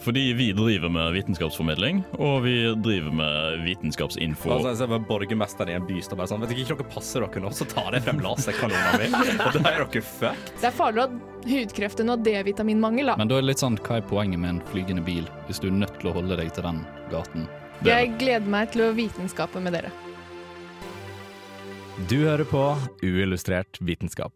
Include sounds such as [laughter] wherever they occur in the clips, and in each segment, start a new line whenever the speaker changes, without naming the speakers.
Fordi vi driver med vitenskapsformidling, og vi driver med vitenskapsinfo.
Altså, jeg ser bare Borgermesteren i en by står bare sånn Vet ikke, dere passer dere nå, så tar jeg frem laserkanonene [laughs] mine. Og da er dere fucked.
Det er farligere å ha hudkreft enn å ha D-vitaminmangel, da.
Men da er det litt sånn, hva er poenget med en flygende bil hvis du er nødt til å holde deg til den gaten?
det er
Jeg gleder meg til å vitenskape med dere.
Du hører på Uillustrert vitenskap.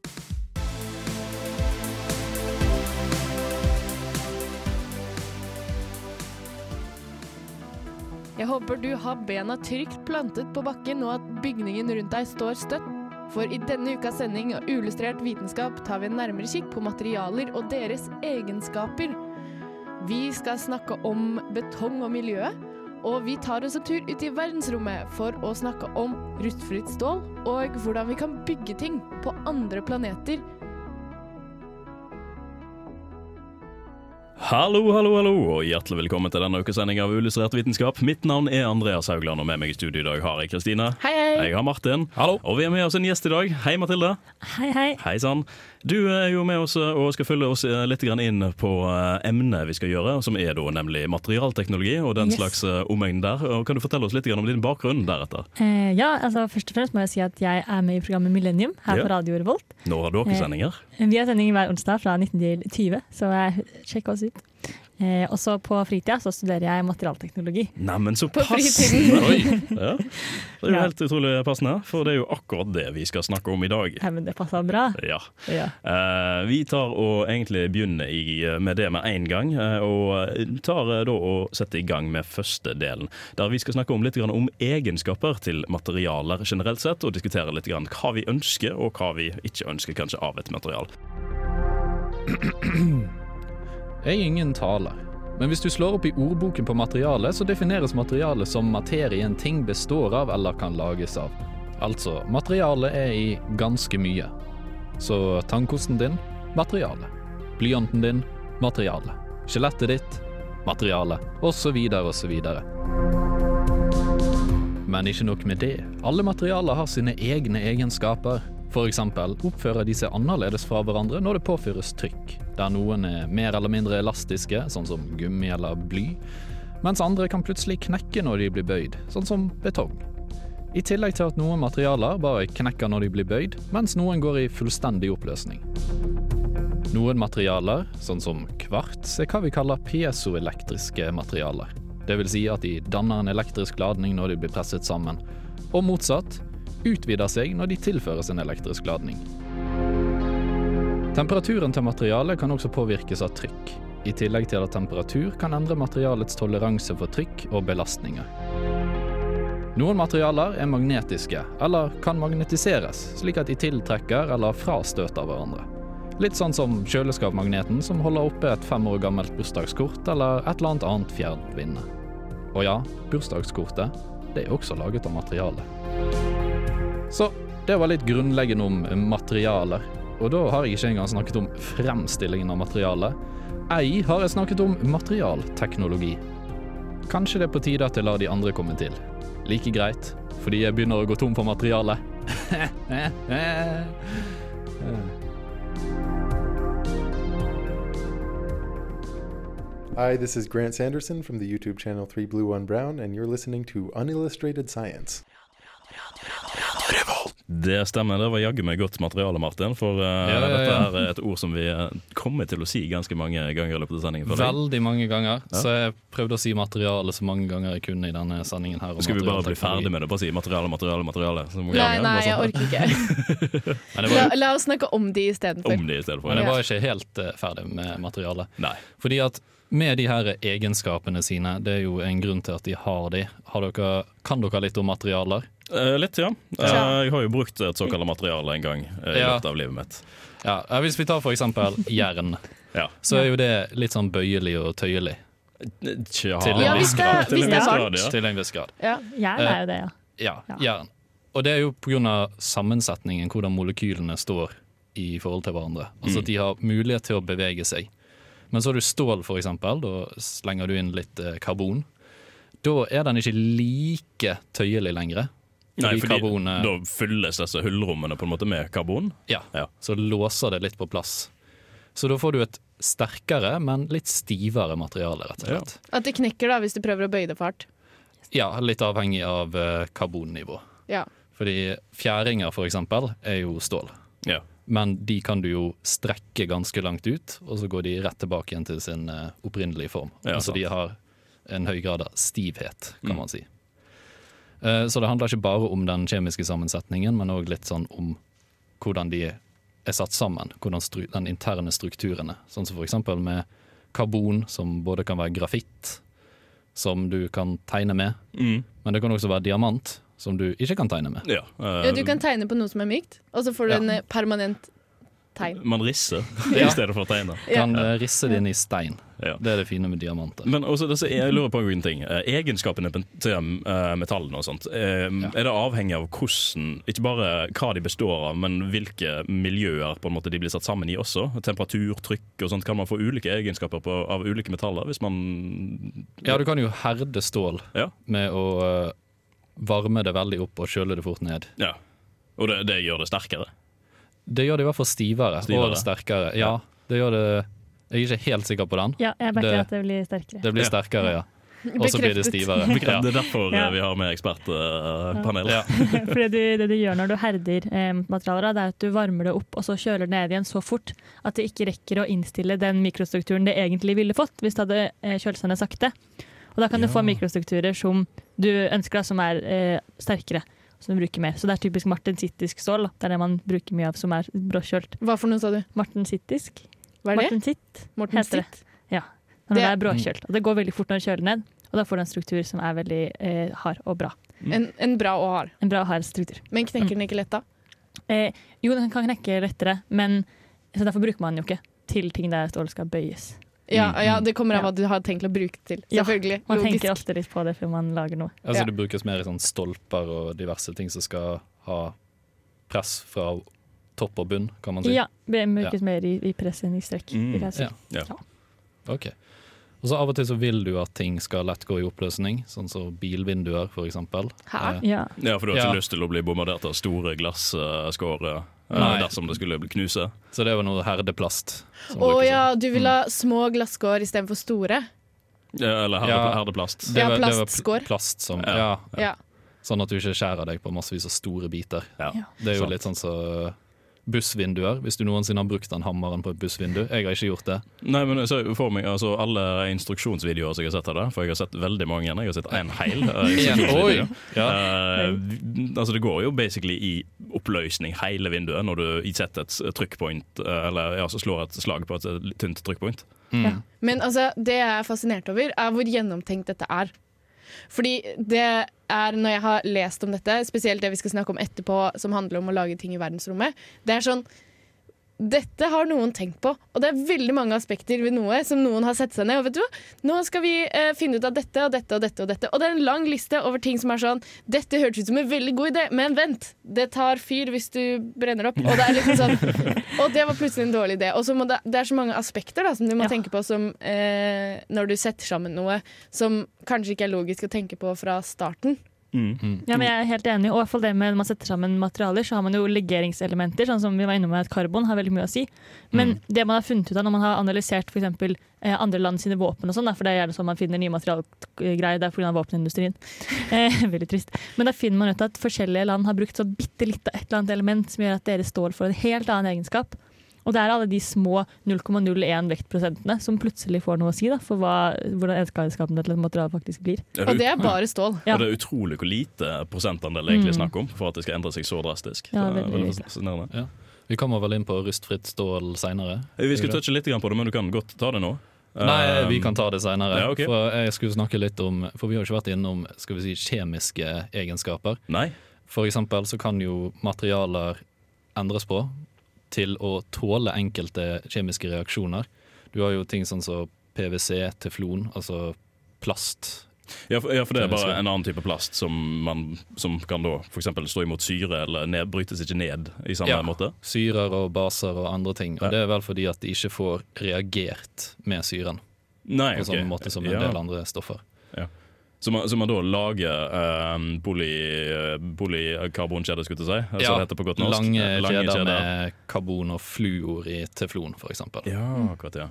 Jeg håper du har bena trygt plantet på bakken, og at bygningen rundt deg står støtt. For i denne ukas sending av Uillustrert vitenskap tar vi en nærmere kikk på materialer og deres egenskaper. Vi skal snakke om betong og miljøet, og vi tar oss en tur ut i verdensrommet for å snakke om rustfritt stål og hvordan vi kan bygge ting på andre planeter.
Hallo, hallo, hallo, og hjertelig velkommen til denne ukesending av Illustrert vitenskap. Mitt navn er Andreas Haugland, og med meg i studio i dag har jeg Kristine.
Hei, hei!
Jeg har Martin.
Hallo.
Og vi har med oss en gjest i dag. Hei, Mathilde.
Hei, hei.
Hei sann. Du er jo med oss eh, og skal følge oss eh, litt grann inn på eh, emnet vi skal gjøre, som er da nemlig materialteknologi og den
Yes.
slags eh, omegn der. Og Kan du fortelle oss litt grann om din bakgrunn deretter?
Eh, ja, altså Først og fremst må jeg si at jeg er med i programmet Millennium her
Ja.
på Radio Revolt.
Når har dere
Eh.
sendinger?
Vi har sending hver onsdag fra 19 til 20, så jeg sjekk oss ut. Eh, også på fritida så studerer jeg materialteknologi.
Neimen, så
På
passende! Oi. [laughs] Ja. Det er jo
Ja.
helt utrolig passende, for det er jo akkurat det vi skal snakke om i dag.
Nei, men det passa bra.
Ja.
Ja.
Eh, vi tar og egentlig begynner i, med det med en gang, eh, og tar eh, da og setter i gang med første delen. Der vi skal snakke om litt grann om egenskaper til materialer generelt sett, og diskutere litt grann hva vi ønsker og hva vi ikke ønsker kanskje av et material.
Jeg er ingen taler. Men hvis du slår opp i ordboken på materiale, så defineres materiale som materie en ting består av eller kan lages av. Altså, materiale er i ganske mye. Så tannkosten din materiale. Blyanten din materiale. Skjelettet ditt materiale. Og så videre og så videre. Men ikke nok med det. Alle materialer har sine egne egenskaper. For eksempel oppfører de seg annerledes fra hverandre når det påføres trykk, der noen er mer eller mindre elastiske, sånn som gummi eller bly, mens andre kan plutselig knekke når de blir bøyd, sånn som betong. I tillegg til at noen materialer bare knekker når de blir bøyd, mens noen går i fullstendig oppløsning. Noen materialer, sånn som kvarts, er hva vi kaller piezoelektriske materialer. Det vil si at de danner en elektrisk ladning når de blir presset sammen, og motsatt utvider seg når de tilføres en elektrisk ladning. Temperaturen til materialet kan også påvirkes av trykk, i tillegg til at temperatur kan endre materialets toleranse for trykk og belastninger. Noen materialer er magnetiske, eller kan magnetiseres, slik at de tiltrekker eller frastøter hverandre. Litt sånn som kjøleskapmagneten som holder oppe et fem år gammelt bursdagskort eller et eller annet annet fjernvinne. Og ja, bursdagskortet det er også laget av materiale. Så det var litt grunnleggende om materialer. Og da har jeg ikke engang snakket om fremstillingen av materialet. Ei har jeg snakket om materialteknologi. Kanskje det er på tide at jeg lar de andre komme til. Like greit, fordi jeg begynner å gå tom for materiale. [laughs]
Hi, this is Grant Sanderson from the YouTube channel 3 Blue 1 Brown, and you're listening to Unillustrated Science.
Det stemmer, det var jaggu meg godt materiale, Martin, for eh,
Ja, ja, ja.
dette her er et ord som vi eh, kommer til å si ganske mange ganger i løpet av sendingen. føler jeg.
Veldig mange ganger. Så jeg prøvde å si materiale så mange ganger jeg kunne i denne sendingen her. om
Skal vi bare bli
materialteknologi.
ferdig med det? Bare si materiale, materiale, materiale. så må vi
Nei,
gjerne
nei,
bare
jeg
sånn
orker ikke.
Men jeg
La,
var,
la oss snakke om de istedenfor.
sånn Om det i stedet for.
men
Ja.
jeg var ikke helt eh, ferdig med materiale.
Nei.
Fordi at med de her egenskapene sine, det er jo en grunn til at de har de. Har dere, kan dere litt om materialer?
Eh, litt, ja. Eh,
Ja.
jeg har jo brukt et såkalt materiale en gang eh, i
Ja.
løpet av livet mitt.
Ja, eh, Hvis vi tar for eksempel jern,
Ja.
så er jo det litt sånn bøyelig og tøyelig.
Tja.
Til en
Ja, hvis
viss
det,
grad.
hvis det er varmt.
grad, ja.
Til en viss grad.
Ja.
Jern er jo det, ja.
Ja,
Ja.
jern. Og det er jo pga. sammensetningen, hvordan molekylene står i forhold til hverandre.
Mm.
Altså at de har mulighet til å bevege seg. Men så har du stål, for eksempel. Da slenger du inn litt eh, karbon. Da er den ikke like tøyelig lenger.
Nei,
Fordi
fordi
karbonet-
da fylles disse hullrommene på en måte med karbon.
Ja,
Ja.
så låser det litt på plass. Så da får du et sterkere, men litt stivere materiale, rett og slett.
At det knekker da hvis du prøver å bøye det for hardt.
Ja, litt avhengig av eh, karbonnivå.
Ja.
Fordi fjæringer, for eksempel, er jo stål.
Ja.
Men de kan du jo strekke ganske langt ut, og så går de rett tilbake igjen til sin eh, opprinnelige form.
Ja, sant.
altså de har en høy grad av stivhet, kan
Mm.
man si. Eh, så det handler ikke bare om den kjemiske sammensetningen, men òg litt sånn om hvordan de er satt sammen. Hvordan stru den interne strukturene. Sånn som for eksempel med karbon, som både kan være grafitt, som du kan tegne med,
Mm.
men det kan også være diamant, som du ikke kan tegne med.
Ja, eh,
ja, du kan tegne på noe som er mykt, og så får du
Ja.
en eh, permanent tegn.
Man risser
Ja.
i stedet for å tegne.
Du kan eh, risse det inn i stein.
Ja.
Det er det fine med diamanter.
Men også, det- så jeg lurer på en ting. Eh, Egenskapene til eh, metallene og sånt, eh, er det avhengig av hvordan Ikke bare hva de består av, men hvilke miljøer på en måte de blir satt sammen i også? Temperatur, trykk og sånt. Kan man få ulike egenskaper på, av ulike metaller hvis man
Ja, du kan jo herde stål
Ja.
med å eh, varme det veldig opp og kjøle det fort ned.
ja. Og det, det gjør det sterkere?
Det gjør det i hvert fall stivere,
Stivere.
og sterkere. Ja, det gjør det Jeg er ikke helt sikker på den.
Ja, jeg backer
Det-
at det blir sterkere.
Det blir
Ja.
sterkere, ja. Og så blir det
[laughs]
stivere. Ja.
Det er derfor eh,
Ja.
vi har med eh, ekspertpanel.
Ja.
Fordi du, det du gjør når du herder eh, materialer, da, det er at du varmer det opp og så kjøler det ned igjen så fort at det ikke rekker å innstille den mikrostrukturen det egentlig ville fått hvis det hadde eh, kjølt seg ned sakte. Og da kan du få mikrostrukturer som du ønsker, da, som er eh, sterkere. Som du bruker mer. Så det er typisk martensittisk stål. da. Det er det man bruker mye av som er bråkjølt.
Hva for noe sa du?
Martensittisk?
Hva er det?
Martensitt
Morten
heter det.
Sitt?
Når det
Det-
er bråkjølt. Og det går veldig fort når det kjøler ned. Og da får du en struktur som er veldig eh, hard og bra.
En, en bra og hard.
En bra og hard struktur.
Men knekker den ikke lett da?
Eh, jo, den kan knekke lettere, men så derfor bruker man den jo ikke til ting der stål skal bøyes.
Ja,
Mm.
ja, det kommer av
Ja.
hva du har tenkt å bruke det til.
Ja,
Selvfølgelig.
Man
Logisk.
tenker alltid litt på det før man lager noe.
Altså,
Ja.
Det brukes mer i sånn stolper og diverse ting som skal ha press fra topp og bunn, kan man si.
Ja, det brukes mer i, i press enn i strekk.
Mm,
vil jeg si.
ja.
Ja.
Ok. Og så Av og til så vil du at ting skal lett gå i oppløsning, sånn som bilvinduer f.eks.
Hæ?
Ja.
Ja, for du har ikke
Ja.
lyst til å bli bombardert av store glasskår
Nei.
eh, dersom det skulle bli knuse?
Så det var noe herdeplast. som sånn. Mm.
Å
brukes.
ja, du vil ha små glasskår istedenfor store?
Ja, eh, Eller herde,
Ja.
herdeplast?
Det
Ja,
var- det var pl-
plastskår.
Plast som,
Ja.
ja.
Ja.
Sånn at du ikke skjærer deg på massevis av store biter.
Ja.
Ja.
Det er jo
Sant.
litt sånn som bussvinduer, hvis du noensinne har brukt den hammeren på et bussvindu. Jeg har ikke
[laughs]
gjort det.
Nei, men så for meg altså, Alle instruksjonsvideoer som jeg har sett av det, for jeg har sett veldig mange. Jeg har sett én heil.
[laughs]
eh, instruksjonsvideo.
Oi! Ja.
Eh, vi- altså Det går jo basically i oppløsning hele vinduet når du setter et trykkpoint, eh, eller ja, så slår et slag på et eh, tynt trykkpoint.
Mm.
Men altså, det jeg er fascinert over, er hvor gjennomtenkt dette er. Fordi det er, når jeg har lest om dette, spesielt det vi skal snakke om etterpå, som handler om å lage ting i verdensrommet, det er sånn dette har noen tenkt på, og det er veldig mange aspekter ved noe som noen har sett seg ned. Og vet du hva? Nå skal vi eh, finne ut av dette og dette og dette. Og dette. Og det er en lang liste over ting som er sånn Dette hørtes ut som en veldig god idé, men vent! Det tar fyr hvis du brenner opp. Og det er liksom sånn Og det var plutselig en dårlig idé. Og så må det, det er så mange aspekter da, som du må
Ja.
tenke på som eh, Når du setter sammen noe som kanskje ikke er logisk å tenke på fra starten.
Ja, men jeg er helt enig. Og i hvert fall det med når man setter sammen materialer, så har man jo legeringselementer, sånn som vi var inne med at karbon har veldig mye å si.
Mm.
Men det man har funnet ut av når man har analysert for eksempel, eh, andre land sine våpen og sånn, da, for det er gjerne sånn man finner nye materialgreier, det er pga. våpenindustrien. [laughs] Eh, veldig trist. Men da finner man ut at forskjellige land har brukt så bitte litt av et eller annet element som gjør at deres stål får en helt annen egenskap. Og det er alle de små 0,01 vektprosentene som plutselig får noe å si da, for hva, hvordan egenskapene til et materiale faktisk blir.
Og det er bare stål.
Ja.
Og det er utrolig hvor lite prosentandel det egentlig er snakk om for at det skal endre seg så drastisk. Det
Ja,
er
veldig
veldig
lite.
fascinerende.
Vi kommer vel inn på rustfritt stål seinere.
Vi skal touche litt grann på det, men du kan godt ta det nå.
Nei, vi
Eh,
kan ta det seinere.
Ja, ok.
For jeg skulle snakke litt om For vi har jo ikke vært innom skal vi si, kjemiske egenskaper.
Eh, Nei?
For eksempel så kan jo materialer endres på til å tåle enkelte kjemiske reaksjoner. Du har jo ting sånn som PwC, teflon, altså plast.
Ja for, ja, for det er
Kan jeg
bare
si.
en annen type plast som, man, som kan da for eksempel stå imot syre eller ned, brytes ikke ned i samme
Ja.
måte.
Syrer og baser og andre ting. Og
Ja.
det er vel fordi at de ikke får reagert med syren
Nei, ok.
på samme måte som en
ja.
del andre stoffer.
Så man, så man da lager eh, poly- polykarbonkjeder, skulle jeg til å si. Altså, det heter på godt norsk.
Lange
Eh,
kjeder med karbon og fluor i teflon, for
[laughs]
eksempel.
Ja, akkurat, ja.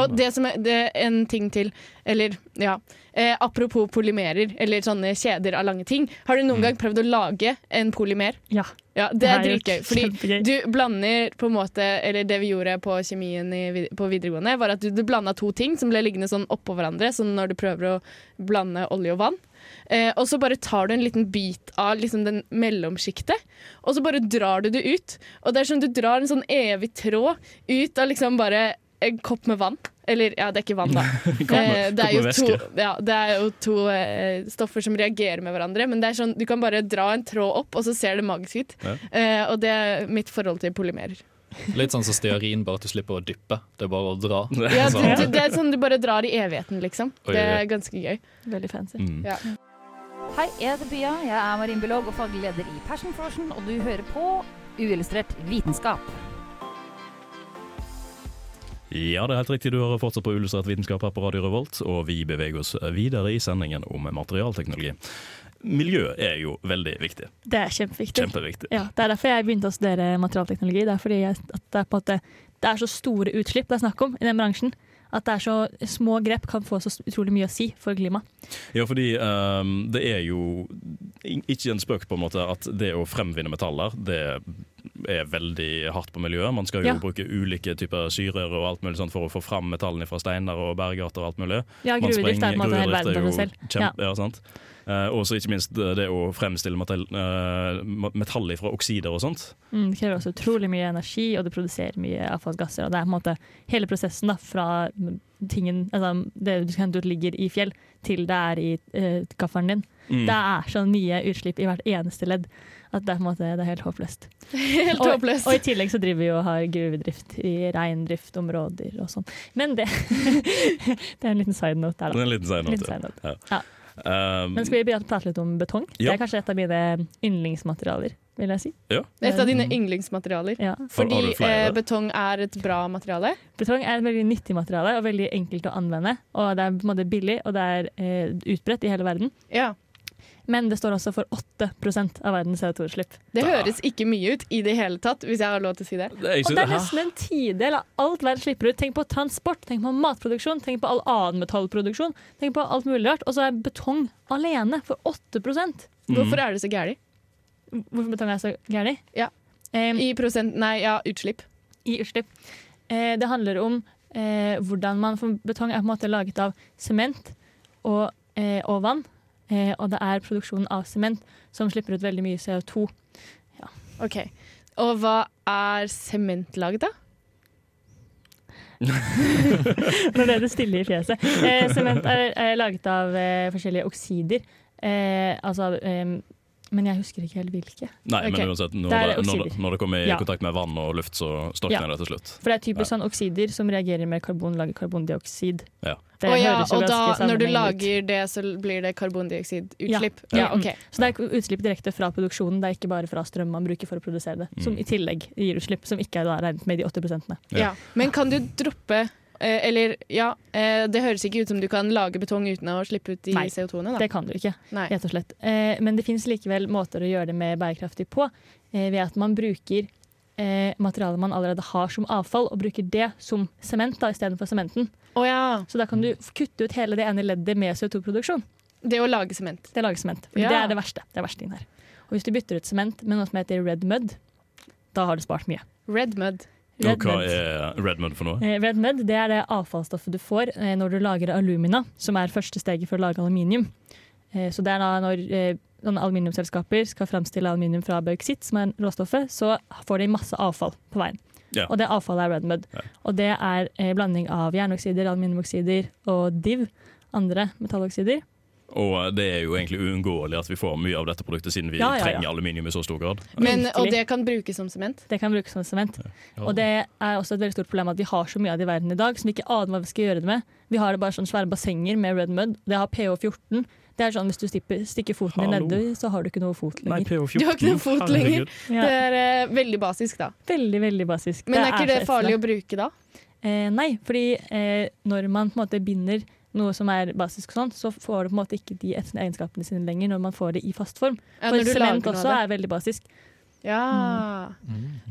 Og det som er det er en ting til, eller ja eh, Apropos polymerer, eller sånne kjeder av lange ting. Har du noen gang prøvd å lage en polymer?
Ja.
Ja, det er
har Mm. jeg
dritgøy.
gjort.
Fordi
Kjempegøy.
du blander på en måte Eller det vi gjorde på kjemien i, vid- på videregående, var at du, du blanda to ting som ble liggende sånn oppå hverandre, som når du prøver å blande olje og vann. Eh, og så bare tar du en liten bit av liksom den mellomsjiktet, og så bare drar du det ut. Og det er som du drar en sånn evig tråd ut av liksom bare en kopp med vann. Eller ja, det er ikke vann, da.
[laughs]
Eh,
kopp med
det, er jo to,
væske.
ja, det er jo to eh, stoffer som reagerer med hverandre, men det er sånn, du kan bare dra en tråd opp, og så ser det magisk ut.
Ja.
Eh, og det er mitt forhold til polymerer.
Litt sånn som stearin, bare at du slipper å dyppe. Det er bare å dra.
[laughs]
Ja,
Så-
du, du, det er sånn du bare drar i evigheten, liksom.
Oi,
Det
oi,
er ganske gøy. [laughs]
Veldig fancy.
Mm.
Ja.
Hei, jeg heter Pia. Jeg er marinbiolog og fagleder i Passion Frosion, og du hører på Uillustrert vitenskap.
Ja, det er helt riktig. Du hører fortsatt på Ullustrert vitenskap her på Radio Revolt, og vi beveger oss videre i sendingen om materialteknologi. Miljø er jo veldig viktig.
Det er kjempeviktig.
Kjempeviktig.
Ja, det er derfor jeg begynte å studere materialteknologi. Det er fordi jeg, at det, er på en måte- det er så store utslipp det er snakk om i den bransjen. At det er så små grep kan få så utrolig mye å si for klimaet.
Ja, fordi ehm, det er jo in- ikke en spøk på en måte at det å fremvinne metaller, det er veldig hardt på miljøet. Man skal jo
Ja.
bruke ulike typer syrer og alt mulig sånt for å få fram metallene fra steiner og bergarter og alt mulig.
Ja,
Man
gruvedrift er på en måte hele
gruvedrift
verden for
jo
seg selv. Ja.
Kjempe, ja. sant? Eh, og så ikke minst det det å fremstille metall, eh, ma- metall fra oksider og sånt.
Mm, det krever også utrolig mye energi, og det produserer mye avfallsgasser. Og det er på en måte hele prosessen da, fra tingen, altså, det du kan hente ut ligger i fjell, til det er i eh, gaffelen din.
Mm.
Det er så mye utslipp i hvert eneste ledd at det er, på en måte, det er helt håpløst.
[laughs] Helt
Og-
håpløst.
Og i tillegg så driver vi og har gruvedrift i reindriftområder og sånn. Men det, [laughs] det er en liten side note der,
Det er
da.
en liten side
Liten
note.
side note.
Eh,
Men skal vi begynne å prate litt om betong?
Ja.
Det er kanskje et av mine yndlingsmaterialer, vil jeg si.
Et av dine yndlingsmaterialer.
Ja.
Har- har du
Fordi
flere?
eh, betong er et bra materiale.
Betong er et veldig nyttig materiale og veldig enkelt å anvende. Og det er på en måte billig, og det er eh, utbredt i hele verden.
Ja.
Men det står også for 8 av verdens CO2-utslipp.
Det høres ikke mye ut i det hele tatt, hvis jeg har lov til å si det.
jeg
Og
synes-
det er
hæ?
nesten en tidel av alt verden slipper ut. Tenk på transport, tenk på matproduksjon, tenk på all annen metallproduksjon. Tenk på alt mulig rart. Og så er betong alene for 8 Hvorfor
Mm.
Hvorfor er det så gærent?
betong er så gærent?
Ja.
Em,
I prosent... Nei, ja, utslipp.
i utslipp. Eh, det handler om eh, hvordan man For betong er på en måte laget av sement og, eh, og vann. Eh, og det er produksjonen av sement som slipper ut veldig mye CO2.
OK. Og hva er sement laget av?
Nå ble det stille i fjeset. Eh, sement er, er laget av eh, forskjellige oksider. Eh, altså eh, Men jeg husker ikke helt hvilke.
Nei,
Ok.
men uansett, når
Der er
det, når, det-
oksider.
når det kommer i
Ja.
kontakt med vann og luft, så
Ja.
storkner det til slutt.
For det er typisk sånn oksider som reagerer med karbon, lager karbondioksid.
Ja.
Det
Å ja,
høres jo
og da,
ganske
når du
sammenhengende ut.
lager det, så blir det karbondioksidutslipp?
Ja. Mm.
Ja, OK.
Så det er utslipp direkte fra produksjonen, det er ikke bare fra strøm man bruker for å produsere det. Som i tillegg gir utslipp, som ikke er da regnet med de 8 prosentene.
Ja.
Ja. Men kan du droppe eh, Eller ja, eh, det høres ikke ut som du kan lage betong uten å slippe ut de
Nei,
CO2-ene, da.
Det kan du ikke,
Nei.
rett og slett. Eh, men det finnes likevel måter å gjøre det mer bærekraftig på, eh, ved at man bruker eh, materialet man allerede har som avfall, og bruker det som sement da, istedenfor sementen.
Å ja.
Så da kan
Mm.
du f- kutte ut hele det ene leddet med CO2-produksjon.
Det å lage sement.
Det lager sement. For
Ja.
Det er det verste. Det er verstingen her. Og hvis du bytter ut sement med noe som heter red mud, da har du spart mye.
Red mud.
Og
Red
hva
mud.
er Redmond for noe?
Eh, Red mud det er det avfallsstoffet du får eh, når du lager alumina, som er første steget for å lage aluminium. Eh, Så det er da når eh, sånne aluminiumselskaper skal fremstille aluminium fra bauksitt, som er råstoffet, så får de masse avfall på veien.
Ja.
Og det avfallet er red mud. Og det er eh, blanding av jernoksider, aluminiumoksider og div, andre metalloksider.
Og eh, det er jo egentlig uunngåelig at vi får mye av dette produktet, siden vi
Ja, ja, ja.
trenger aluminium i så stor grad.
Men,
Virkelig.
og det kan brukes som sement?
Det kan brukes som sement. Og det er også et veldig stort problem at vi har så mye av det i verden i dag som vi ikke aner hva vi skal gjøre det med. Vi har det bare sånn svære bassenger med red mud. Det har pH14. Det er sånn Hvis du stipper, stikker foten din
Hallo.
nedi, så har du ikke noe fot lenger.
PH14.
Du har ikke noen fot lenger. Det
Ja,
er eh, veldig basisk, da.
veldig, veldig basisk.
Men er ikke det
så
farlig å
ekstremt.
bruke da?
Eh, nei, fordi eh, når man på en måte binder noe som er basisk, og sånn, så får du på en måte ikke de etne egenskapene sine lenger når man får det i fast form.
Ja,
For
når du lager
sement
noe
også
av det.
er veldig basisk.
Ja.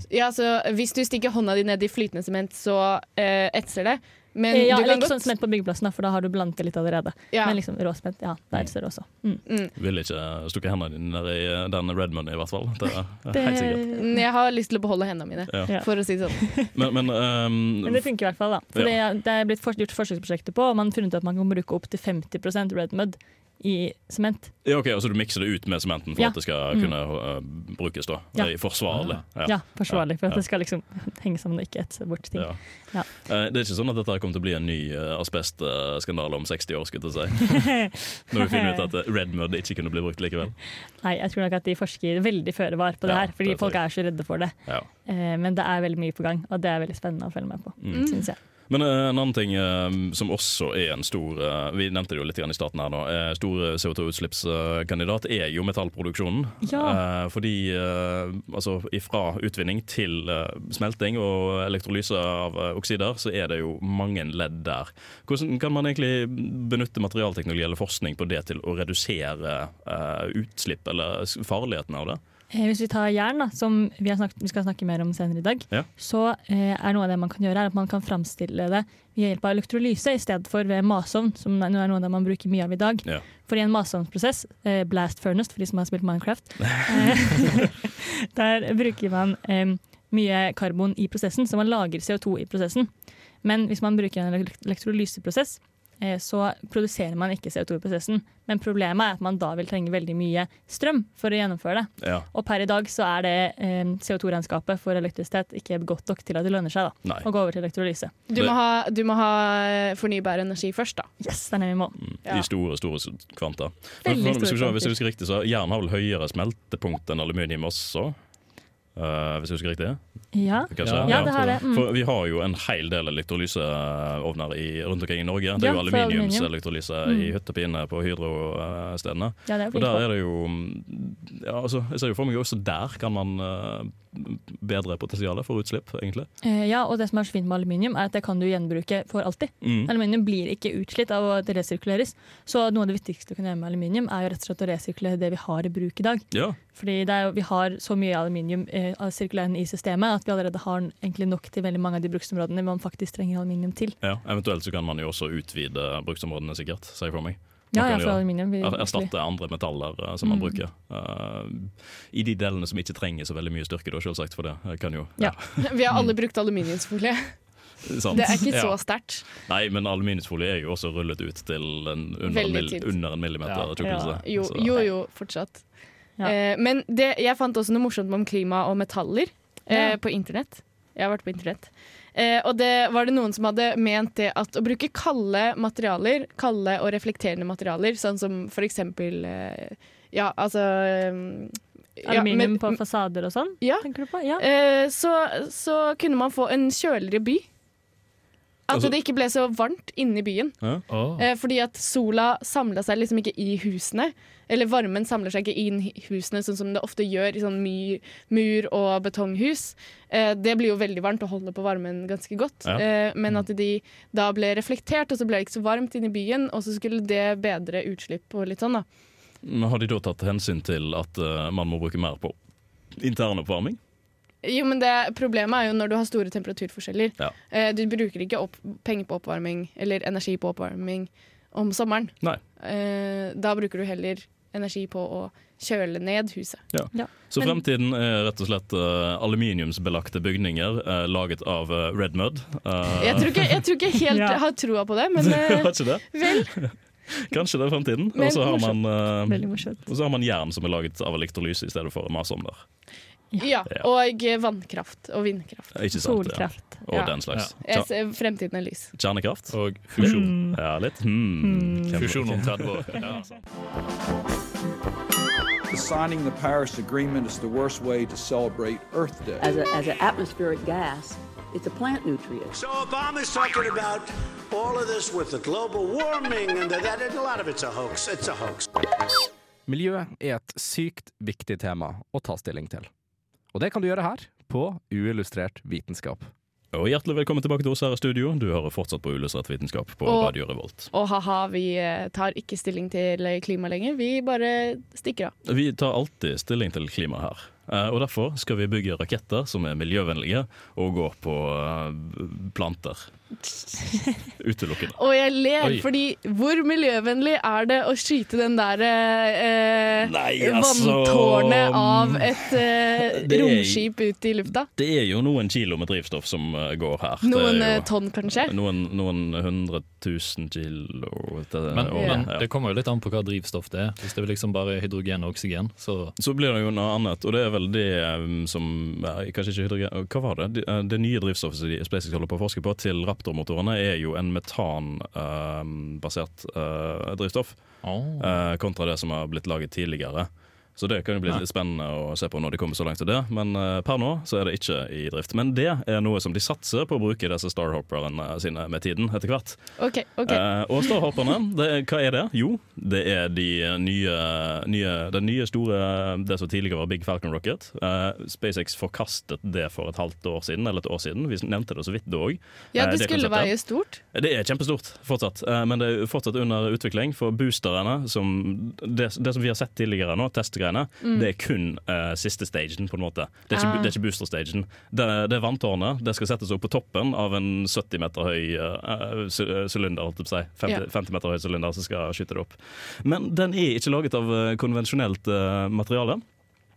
ja, så hvis du stikker hånda di ned i flytende sement, så eh, etser det. Men
Eh, ja,
du
eller
kan
ikke sånn
godt
sement på byggeplassen, da, for da har du blandet det litt allerede.
ja.
Men liksom råsement, ja, det er større også. Mm.
mm.
Ville ikke stukket hendene dine ned i eh, den Redmond i hvert fall. Det er
[laughs] Det,
helt sikkert.
Mm, Jeg har lyst til å beholde hendene mine,
Ja.
Ja.
for å si det sånn.
Men, men,
men
ehm,
det funker i hvert fall, da. For det, det er blitt fors- gjort forsøksprosjekter på, og man har funnet ut at man kan bruke opptil 50 red mud i sement.
ja, ok, altså du mikser det ut med sementen for
Ja.
at det skal
Mm.
kunne eh, brukes da.
Ja. Ah,
Det er forsvarlig.
Ja, forsvarlig, for at
Ja.
det skal liksom [laughs] henge sammen og ikke etse bort ting.
Ja.
Ja.
Eh, Det er ikke sånn at dette kommer til å bli en ny eh, asbestskandale om 60 år, skulle jeg til å si. Når vi finner ut at eh, red mud ikke kunne bli brukt likevel.
[laughs] Nei, jeg tror nok at de forsker veldig føre var på det
Ja,
her, fordi
det tror
folk
jeg.
er så redde for det.
Ja.
Eh, Men det er veldig mye på gang, og det er veldig spennende å følge med på.
Mm.
Synes jeg.
Men eh, en annen ting eh, som også er en stor eh, Vi nevnte det jo litt grann i starten her nå. eh, stor eh, CO2-utslippskandidat er jo metallproduksjonen.
Ja.
Eh, fordi eh, altså ifra utvinning til eh, smelting og elektrolyse av eh, oksider, så er det jo mange ledd der. Hvordan kan man egentlig benytte materialteknologi eller forskning på det til å redusere eh, utslipp eller s- farligheten av det?
Eh, Hvis vi tar jern, da, som vi, har snakket, vi skal snakke mer om senere i dag,
Ja.
så eh, er noe av det man kan gjøre, er at man kan framstille det ved hjelp av elektrolyse i stedet for ved masovn, som er noe av det man bruker mye av i dag.
Ja.
For i en masovnsprosess, eh, blast furnace for de som har spilt
[laughs]
Minecraft, eh, [laughs] der bruker man eh, mye karbon i prosessen, så man lager CO2 i prosessen. Men hvis man bruker en elekt- elektrolyseprosess, eh, så produserer man ikke CO2 i prosessen. Men problemet er at man da vil trenge veldig mye strøm for å gjennomføre det.
Ja,
Og per i dag så er det eh, CO2-regnskapet for elektrisitet ikke godt nok til at det lønner seg da,
nei.
å gå over til elektrolyse.
Du må, ha, du må ha eh, fornybar energi først, da.
Yes, den er vi i mål.
Mm,
Ja.
I store, store s- kvanta. Men,
Veldig
men,
store
skal vi se, hvis
kvanter.
jeg husker riktig, så Jern har vel høyere smeltepunkt enn aluminium også? Eh, hvis jeg husker riktig?
Ja,
Kanskje?
Ja,
ja det har det. Mm.
For vi har jo en hel del elektrolyseovner i, rundt omkring i Norge. Det
Ja,
er jo
for
aluminiumselektrolyse i
Mm.
hytta pine på Hydro-stedene.
Ja, det er
Og
flink
der
folk.
er det jo mm, ja, altså, Jeg ser jo for meg også der kan man eh, bedre potensialet for utslipp, egentlig.
Eh, ja, og det som er så fint med aluminium, er at det kan du gjenbruke for alltid.
Mm.
Aluminium blir ikke utslitt av at det resirkuleres. Så noe av det viktigste du kan gjøre med aluminium, er jo rett og slett å resirkulere det vi har i bruk i dag.
Ja.
Fordi det er, jo- vi har så mye aluminium eh, av sirkulerende i systemet at vi allerede har egentlig nok til veldig mange av de bruksområdene man faktisk trenger aluminium til.
ja, Eventuelt så kan man jo også utvide bruksområdene, sikkert. Ser jeg for meg.
Ja,
Man
ja,
kan
for
jo-
aluminium. vil-
Er- Erstatte andre metaller eh, som man
Mm.
bruker. Eh, I de delene som ikke trenger så veldig mye styrke, da, selvsagt, for det eh, kan jo
Ja.
Vi har
Mm.
alle brukt aluminiumsfolie.
sant.
Det er ikke
[laughs]
så
Sånn. Ja.
sterkt.
Nei, men aluminiumsfolie er jo også rullet ut til en, under, en
Veldig
mil,
tynt.
under en millimeter
Ja.
tykkelse.
Jo,
Så-
jo, jo, fortsatt.
Ja.
Eh, men det, jeg fant også noe morsomt om klima og metaller eh,
Ja.
på internett. Jeg har vært på internett. Eh, og det var det noen som hadde ment det at å bruke kalde materialer, kalde og reflekterende materialer, sånn som for eksempel eh, Ja, altså eh, ja,
Aluminium
men-
på fasader og sånn?
Ja.
Tenker du på? Ja.
Eh, så, så kunne man få en kjøligere by. At
Altså-
det ikke ble så varmt inni byen.
Åh.
Eh, fordi at sola samla seg liksom ikke i husene. Eller varmen samler seg ikke inn i husene, sånn som det ofte gjør i sånn my, mur- og betonghus. Eh, det blir jo veldig varmt og holder på varmen ganske godt.
Ja. Mm.
Eh, men at de da ble reflektert, og så ble det ikke så varmt inne i byen, og så skulle det bedre utslipp og litt sånn, da.
Men har de da tatt hensyn til at eh, man må bruke mer på internoppvarming?
Jo, men det, Problemet er jo når du har store temperaturforskjeller.
Ja.
Eh, du bruker ikke opp, penger på oppvarming eller energi på oppvarming om sommeren.
Nei.
Eh, da bruker du heller energi på å kjøle ned huset.
Så
Men-
fremtiden er rett og slett eh, aluminiumsbelagte bygninger eh, laget av eh, red mud. Eh,
Jeg tror ikke jeg tror ikke helt
[laughs] Ja.
jeg har troa på det, men
Har
eh,
ikke [laughs] det?
vel.
Kanskje det er fremtiden.
Men
Og så har man eh,
Veldig morsomt.
og så har man jern som er laget av elektrolyse i stedet for masomner.
Ja.
Ja.
Og eh, vannkraft og vindkraft.
Ikke sant? Ja.
Solkraft.
Og
Ja.
den slags.
Jeg ser fremtiden er lys.
Kjer- Kjernekraft?
Og fusjon.
Mm.
Ja, litt.
Mm.
Hmm. Hvem-
Fusjon om 30
[laughs]
år. Ja, altså.
Signing the Paris Agreement is the worst way to celebrate Earth Day.
as, a, as an atmospheric gas, it's a plant nutrient.
So Obama's talking about all of this with the global warming and that, and a lot of it's a hoax. It's a hoax.
Miljø er et sykt viktig tema å ta stilling til. Og det kan du gjøre her, på uillustrert vitenskap.
Og hjertelig velkommen tilbake til oss her i studio. Du hører fortsatt på Ulystrert vitenskap på
Og-
Radio Revolt.
Og ha-ha, vi eh, tar ikke stilling til klima lenger. Vi bare stikker av.
Vi tar alltid stilling til klima her. Eh, Og derfor skal vi bygge raketter som er miljøvennlige, og gå på eh,
[laughs]
planter. Utelukkende.
Og jeg ler,
Oi.
fordi hvor miljøvennlig er det å skyte den der eh,
Nei, altså,
vanntårnet av et eh,
[laughs] det er-
romskip ut i lufta?
Det er jo noen kilo med drivstoff som eh, går her.
Noen
det er
eh,
jo
tonn, kanskje?
noen, noen hundre tusen kilo til
Men,
året.
men
Eh, Ja.
det kommer jo litt an på hva drivstoff det er. Hvis det er liksom bare hydrogen og oksygen, så
Så blir det jo noe annet, og det er vel det eh, som eh, Kanskje ikke hydrogen Hva var det? Det, eh, det nye drivstoffet som de SpaceX holder på å forske på til Raptor-motorene, er jo en metanbasert eh, drivstoff,
Åh.
eh, kontra det som har blitt laget tidligere. Så det kan jo bli litt spennende å se på når de kommer så langt til det, men eh, per nå så er det ikke i drift. Men det er noe som de satser på å bruke disse Starhopperne sine med tiden, etter hvert.
OK. ok.
Eh, og ståhopperne, det, er- hva er det? Jo, det er de nye, nye den nye store Det som tidligere var Big Falcon Rocket. Eh, SpaceX forkastet det for et halvt år siden, eller et år siden. Vi nevnte det så vidt det òg.
Ja, det skulle veie stort.
Det er kjempestort, fortsatt. Eh, Men det er fortsatt under utvikling. For boosterne, som det, det som vi har sett tidligere nå, testgreiene,
Mm.
det er kun eh, siste stagen, på en måte. Det er ikke,
Ah.
det er ikke booster-stagen. Det, det er vanntårnet. Det skal settes opp på toppen av en 70 meter høy eh, sy- eh, sylinder, holdt jeg på å si. 50,
Ja.
50 meter høy sylinder som skal skyte det opp. Men den er ikke laget av eh, konvensjonelt eh, materiale.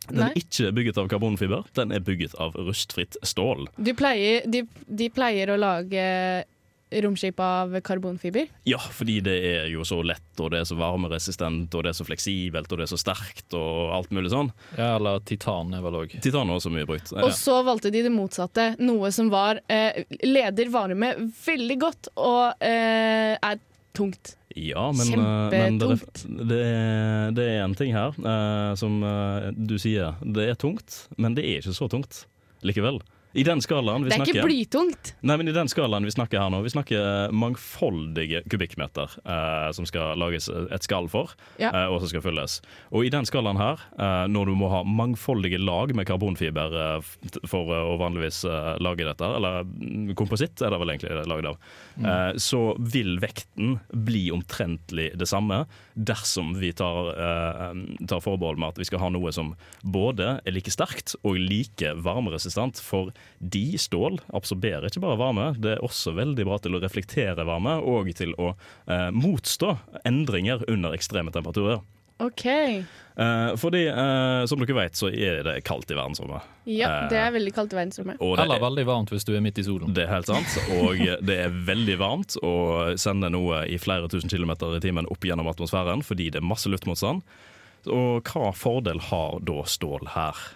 Den
Nei.
er ikke bygget av karbonfiber, den er bygget av rustfritt stål.
De pleier, de, de pleier å lage romskip av karbonfiber.
Ja, fordi det er jo så lett, og det er så varmeresistent, og det er så fleksibelt, og det er så sterkt, og alt mulig sånn.
Ja, eller titan er vel òg
Titan er også mye brukt.
Og så valgte de det motsatte, noe som var eh, leder varme veldig godt og eh, er tungt.
Ja, men, eh, men det,
Kjempetungt.
det, er- det er en ting her eh, som eh, du sier. Det er tungt, men det er ikke så tungt likevel. I den skalaen vi
Det er
snakker
ikke blytungt.
Nei, men i den skalaen vi snakker her nå, vi snakker eh, mangfoldige kubikkmeter eh, som skal lages et skall for,
Ja.
eh, og som skal fylles. Og i den skalaen her, eh, når du må ha mangfoldige lag med karbonfiber eh, f- for eh, å vanligvis eh, lage dette, eller mm, kompositt er det vel egentlig det er laget av, eh, så vil vekten bli omtrentlig det samme dersom vi tar, eh, tar forbehold med at vi skal ha noe som både er like sterkt og like varmeresistent, for de stål absorberer ikke bare varme, det er også veldig bra til å reflektere varme og til å eh, motstå endringer under ekstreme temperaturer.
OK.
Eh, fordi, eh, som dere vet, så er det kaldt i verdensrommet.
Ja, det er veldig kaldt i verdensrommet.
Og det
Eller veldig varmt hvis du er midt i solen.
Det er helt sant, og det er veldig varmt å sende noe i flere tusen kilometer i timen opp gjennom atmosfæren fordi det er masse luftmotstand. Og hva fordel har da stål her?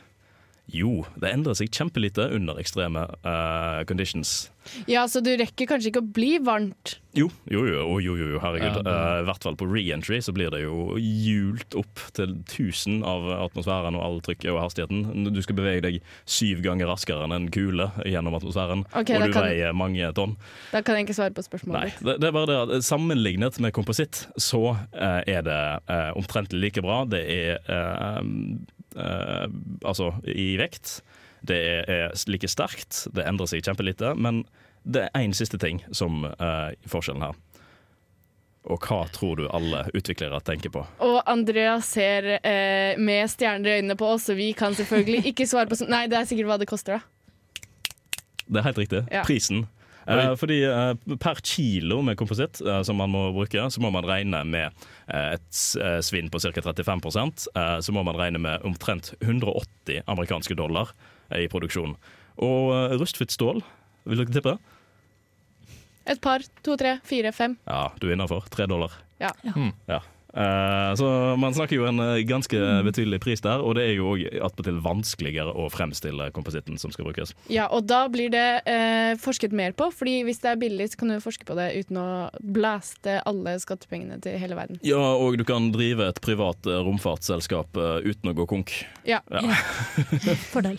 Jo, det endrer seg kjempelite under ekstreme eh, conditions.
Ja, så du rekker kanskje ikke å bli varmt.
Jo, jo, jo, å, jo, jo, jo herregud.
Ja, det-
Eh, I hvert fall på re-entry så blir det jo hjult opp til 1000 av atmosfæren og all trykket og hastigheten. Du skal bevege deg syv ganger raskere enn en kule gjennom atmosfæren,
Ok, da
og du
kan-
veier mange tonn.
Da kan jeg ikke svare på spørsmålet
Nei,
ditt.
det, det er bare det at eh, sammenlignet med kompositt, så eh, er det eh, omtrent like bra. Det er eh, eh, altså i vekt. Det er, er like sterkt. Det endrer seg kjempelite. Men det er én siste ting som eh, er forskjellen her. Og hva tror du alle utviklere tenker på?
Og Andrea ser eh, med stjerner i øynene på oss, så vi kan
[laughs]
selvfølgelig ikke svare på sånn Nei, det er sikkert hva det koster, da.
Det er helt riktig.
Ja.
Prisen. Eh, fordi eh, per kilo med kompositt eh, som man må bruke, så må man regne med eh, et s- eh, svinn på ca. 35 eh, Så må man regne med omtrent 180 amerikanske dollar eh, i produksjon. Og eh, rustfritt stål, vil dere tippe?
Et par, to, tre, fire, fem.
Ja, du er innafor. Tre dollar. Hmm.
Ja.
Ja. Eh, så man snakker jo en eh, ganske betydelig pris der, og det er jo òg attpåtil vanskeligere å fremstille kompositten som skal brukes.
Ja, og da blir det eh, forsket mer på, fordi hvis det er billig, så kan du forske på det uten å blaste alle skattepengene til hele verden.
Ja, og du kan drive et privat eh, romfartsselskap eh, uten å gå konk.
Ja.
[laughs]
[laughs]
Fordel.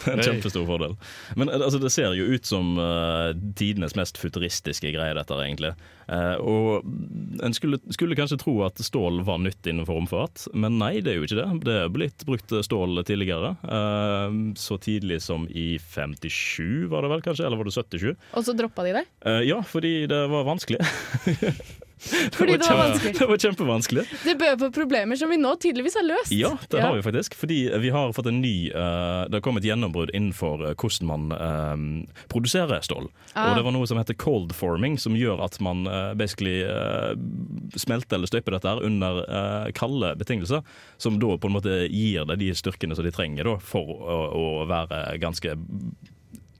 En
Hei.
kjempestor fordel. Men eh, altså, det ser jo ut som eh, tidenes mest futuristiske greie, dette, egentlig. Eh, og en skulle, skulle kanskje tro at stål var nytt innenfor romfart, men nei, det er jo ikke det. Det er blitt brukt stål tidligere. Eh, Så tidlig som i 57, var det vel kanskje? Eller var det 77?
Og så droppa de det?
Eh, Ja, fordi det var vanskelig. [laughs]
Fordi det var
kjempe-
vanskelig.
Det var kjempevanskelig.
Det bød på problemer som vi nå tydeligvis har løst.
Ja, det
Ja.
har vi faktisk. Fordi vi har fått en ny eh, Det har kommet gjennombrudd innenfor eh, hvordan man eh, produserer stål.
Ah.
Og det var noe som heter cold forming, som gjør at man eh, basically eh, smelter eller støper dette her under eh, kalde betingelser. Som da på en måte gir det de styrkene som de trenger da, for å, å være ganske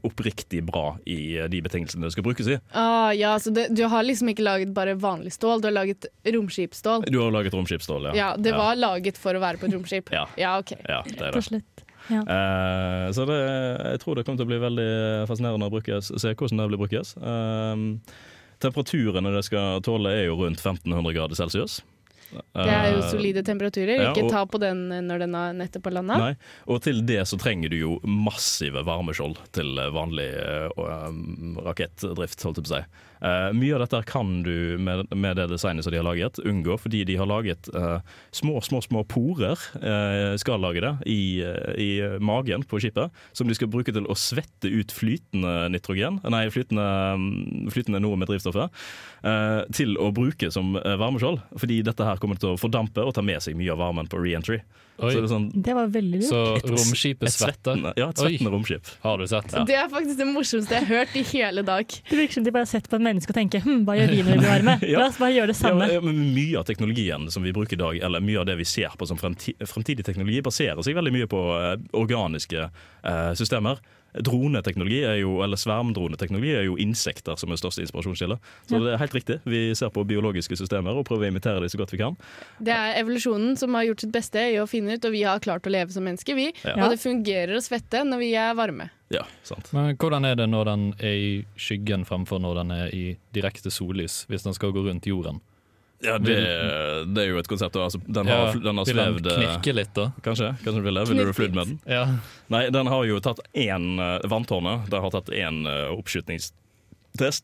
oppriktig bra i eh, de betingelsene det skal brukes i.
Ah, ja, så det, du har liksom ikke laget bare vanlig stål, du har laget romskipstål.
Du har jo laget romskipsstål, ja.
Ja, det var laget for å være på et romskip.
Ja.
ok.
Ja, det er
Rett
det.
og slett.
Eh, så det, jeg tror det kommer til å bli veldig fascinerende å brukes, se hvordan det blir brukes. Um, temperaturene det skal tåle, er jo rundt 1500 grader celsius.
Det er jo
Eh,
solide temperaturer.
ja,
Ikke
og-
ta på den eh, når den er nettopp har landa.
Nei. Og til det så trenger du jo massive varmeskjold til vanlig eh, og, eh, rakettdrift, holdt jeg på å si. Eh, mye av dette her kan du med, med det designet som de har laget, unngå, fordi de har laget eh, små, små små porer, eh, skal lage det, i, eh, i magen på skipet, som de skal bruke til å svette ut flytende nitrogen, nei, flytende, mm, flytende noe med drivstoffet, eh, til å bruke som eh, varmeskjold. Fordi dette her kommer til å fordampe og ta med seg mye av varmen på re-entry.
Oi.
Så det er sånn
Det var veldig lurt.
Så
Et-
romskipet
et
svetter.
svettende- Ja, et
Oi.
svettende romskip.
Har du sett?
Det er faktisk det morsomste jeg har hørt i hele dag.
Det virker som de bare har sett på et menneske og tenker hm, hva gjør vi når vi blir varme?
[laughs] Ja.
La oss bare gjøre det
Ja,
samme.
men- ja, men mye av teknologien som vi bruker i dag, eller mye av det vi ser på som fremti- fremtidig teknologi, baserer seg veldig mye på eh, organiske eh, systemer. Droneteknologi, er jo, eller svermdroneteknologi, er jo insekter som er største inspirasjonskilde. Så
Ja.
det er helt riktig. Vi ser på biologiske systemer og prøver å imitere dem så godt vi kan.
Det er evolusjonen som har gjort sitt beste i å finne ut, og vi har klart å leve som mennesker, vi.
Ja.
Og det fungerer å svette når vi er varme.
Ja, sant.
Men hvordan er det når den er i skyggen fremfor når den er i direkte sollys, hvis den skal gå rundt jorden?
Ja, det, det er jo et konsept. og Altså, den,
Ja,
har, fl- den har
vil den
svevd eh,
knirke litt, da?
Kanskje? Kanskje den vil det? Vil du
Knirket.
flydd med den?
Ja.
Nei, den har jo tatt én eh, Vanntårnet det har tatt én eh, oppskytningstest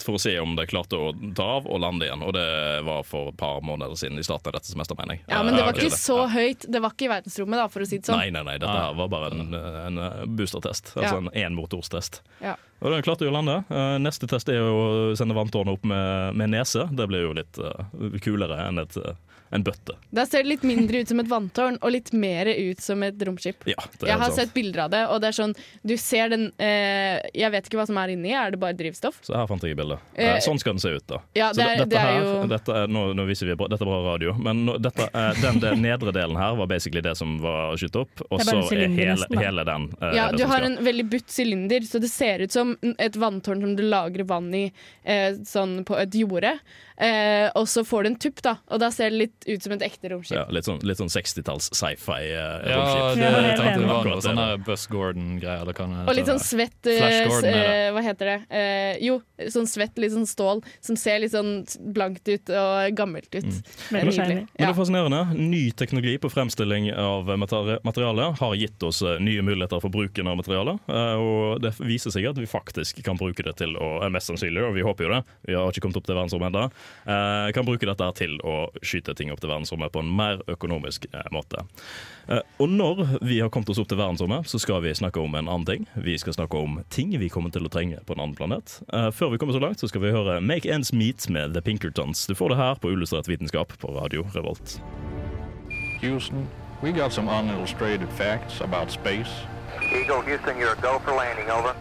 for å se om det klarte å ta av og lande igjen. Og det var for et par måneder siden i starten av dette semesteret, mener jeg.
Ja, Men det
Eh,
var ikke
det.
så
Ja.
høyt. Det var ikke i verdensrommet, da, for å si det
Nei,
sånn.
nei, nei, dette her var bare en, en eh, boostertest. Altså
Ja.
en énmotorstest.
Ja.
Og den klarte jo å lande. Eh, Neste test er jo å sende vanntårnet opp med, med nese. Det blir jo litt eh, kulere enn et, eh, en bøtte.
Da ser det litt mindre ut som et vanntårn, og litt mer ut som et romskip.
Ja, det er altså-
Jeg har
sant.
sett bilder av det, og det er sånn Du ser den eh, Jeg vet ikke hva som er inni. Er det bare drivstoff?
Så her fant jeg bildet.
Eh,
Eh, sånn skal den se ut, da.
ja,
Så
det er-
de-
det
dette
er
her,
jo-
dette er, nå, nå viser vi bra, dette er bra radio, men nå, dette, er- den, den nedre delen her var basically det som var skutt opp, og
Det
så
er bare en
er
sylinder
hele,
nesten, da.
hele den eh,
Ja,
er det
du
som
har
skal.
en veldig butt sylinder, så det ser ut som et vanntårn som du lagrer vann i eh, sånn på et jorde. Eh, og så får du en tupp, da, og da ser det litt ut som et ekte romskip.
ja, litt sånn, litt sånn 60-talls sci-fi eh,
Ja,
romskip.
det
Ja,
jeg
helt
tenkte
enig.
det var
Akkurat
noe
det,
sånn
da.
der Buzz Gordon-greier. eller hva det
Og litt
heter.
sånn svett eh,
Flash Gordon er det.
eh, Hva heter det? Eh, jo, sånn svett, litt sånn stål som ser litt sånn blankt ut og gammelt ut.
Mm.
Det er
Veldig
nydelig.
shiny.
Men det
Ja.
er fascinerende. Ny teknologi på fremstilling av materi- materiale har gitt oss eh, nye muligheter for bruken av materiale. eh, Og det viser seg at vi faktisk kan bruke det til å eh, Mest sannsynlig, og vi håper jo det, vi har ikke kommet opp til verdensrommet ennå, kan bruke dette her til å skyte ting opp til verdensrommet på en mer økonomisk eh, måte. Eh, Og når vi har kommet oss opp til verdensrommet, så skal vi snakke om en annen ting. Vi skal snakke om ting vi kommer til å trenge på en annen planet. Eh, Før vi kommer så langt, så skal vi høre Make Ends Meet med The Pinkertons. Du får det her på Illustrert vitenskap på Radio Revolt.
Houston, we got some unillustrated facts about space.
Eagle Houston, you're go for landing, over.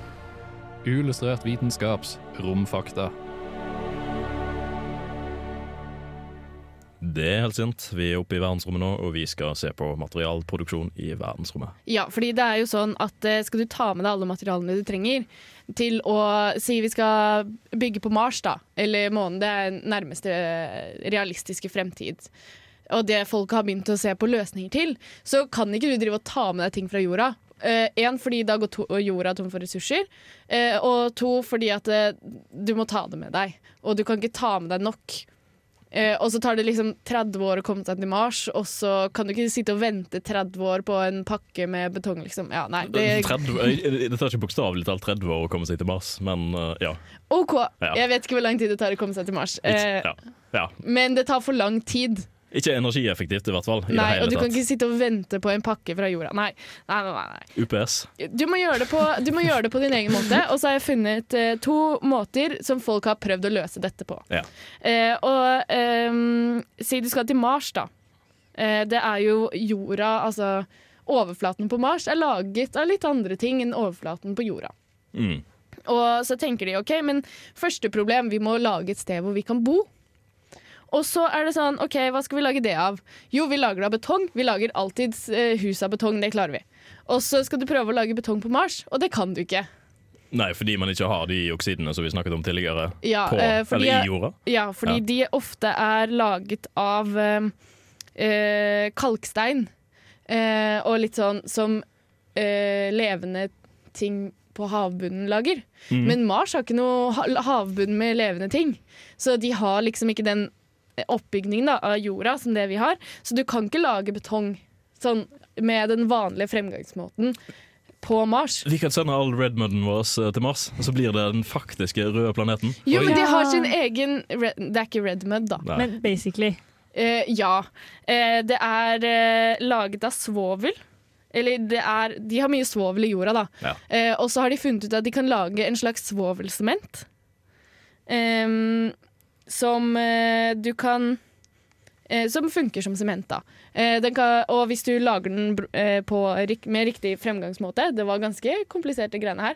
Uillustrert vitenskaps romfakta.
Det er helt sint. Vi er oppe i verdensrommet nå, og vi skal se på materialproduksjon i verdensrommet.
Ja, fordi det er jo sånn at eh, skal du ta med deg alle materialene du trenger til å si vi skal bygge på Mars, da, eller månen, det er nærmeste eh, realistiske fremtid, og det folket har begynt å se på løsninger til, så kan ikke du drive og ta med deg ting fra jorda. Én fordi da går to jorda tom for ressurser, eh, og to fordi at eh, du må ta det med deg. Og du kan ikke ta med deg nok. Eh, og så tar det liksom 30 år å komme seg til Mars, og så kan du ikke sitte og vente 30 år på en pakke med betong, liksom. Ja, nei,
[laughs]
det
30, eh, det tar ikke bokstavelig talt 30 år å komme seg til Mars, men eh, ja.
OK,
Ja.
jeg vet ikke hvor lang tid det tar å komme seg til Mars.
Ikke-
Eh,
ja. ja.
Men det tar for lang tid.
Ikke energieffektivt, i hvert fall. I
Nei,
det
og du
hele
kan
tatt.
ikke sitte og vente på en pakke fra jorda. Nei, nei, nei. nei, nei.
UPS.
Du, må gjøre det på, du må gjøre det på din egen måte. Og så har jeg funnet eh, to måter som folk har prøvd å løse dette på.
Ja.
Eh, og ehm, si du skal til Mars, da. Eh, det er jo jorda, altså Overflaten på Mars er laget av litt andre ting enn overflaten på jorda.
Mm.
Og så tenker de OK, men første problem, vi må lage et sted hvor vi kan bo. Og så er det sånn OK, hva skal vi lage det av? Jo, vi lager det av betong. Vi lager alltid eh, hus av betong, det klarer vi. Og så skal du prøve å lage betong på Mars, og det kan du ikke.
Nei, fordi man ikke har de oksidene som vi snakket om tidligere,
Ja,
på,
eh, fordi
eller
jeg-
i jorda.
Ja, fordi
Ja.
de ofte er laget av eh, eh, kalkstein eh, og litt sånn som eh, levende ting på havbunnen lager.
Mhm.
Men Mars har ikke noe ha havbunn med levende ting, så de har liksom ikke den oppbygningen da, av jorda som det vi har. Så du kan ikke lage betong sånn, med den vanlige fremgangsmåten på Mars.
Vi kan sende all redmuden vår eh, til Mars, og så blir det den faktiske røde planeten.
Jo,
Oi.
men de har
Ja.
sin egen red, Det er ikke red mud, da.
Nei.
Men basically.
Eh, ja. Eh, det er eh, laget av svovel. Eller det er, de har mye svovel i jorda, da.
Ja.
Eh, og så har de funnet ut at de kan lage en slags svovelsement. Ehm, som eh, du kan eh, Som funker som sement, da. Eh, den kan, og hvis du lager den br- eh, på, rik- med riktig fremgangsmåte, det var ganske kompliserte greiene her,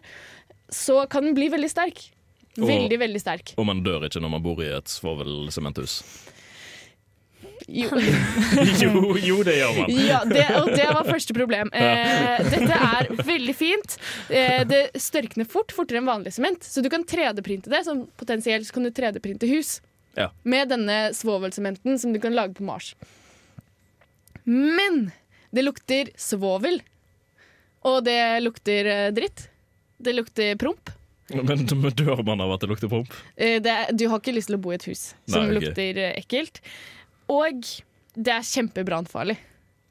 så kan den bli veldig sterk.
Og-
Veldig, veldig sterk.
Og man dør ikke når man bor i et svovelsementhus. [laughs]
Jo.
jo, jo, det gjør
[laughs]
man.
Ja, det, og det var første problem. Eh, dette er veldig fint. Eh, det størkner fort, fortere enn vanlig sement. Så du kan 3D-printe det. Som potensielt så kan du 3D-printe hus
Ja.
med denne svovelsementen som du kan lage på Mars. Men det lukter svovel. Og det lukter eh, dritt. Det lukter promp.
Men, men dør man av at det lukter promp?
Eh, det, er- du har ikke lyst til å bo i et hus som
Nei, ok.
lukter eh, ekkelt. Og det er kjempebrannfarlig.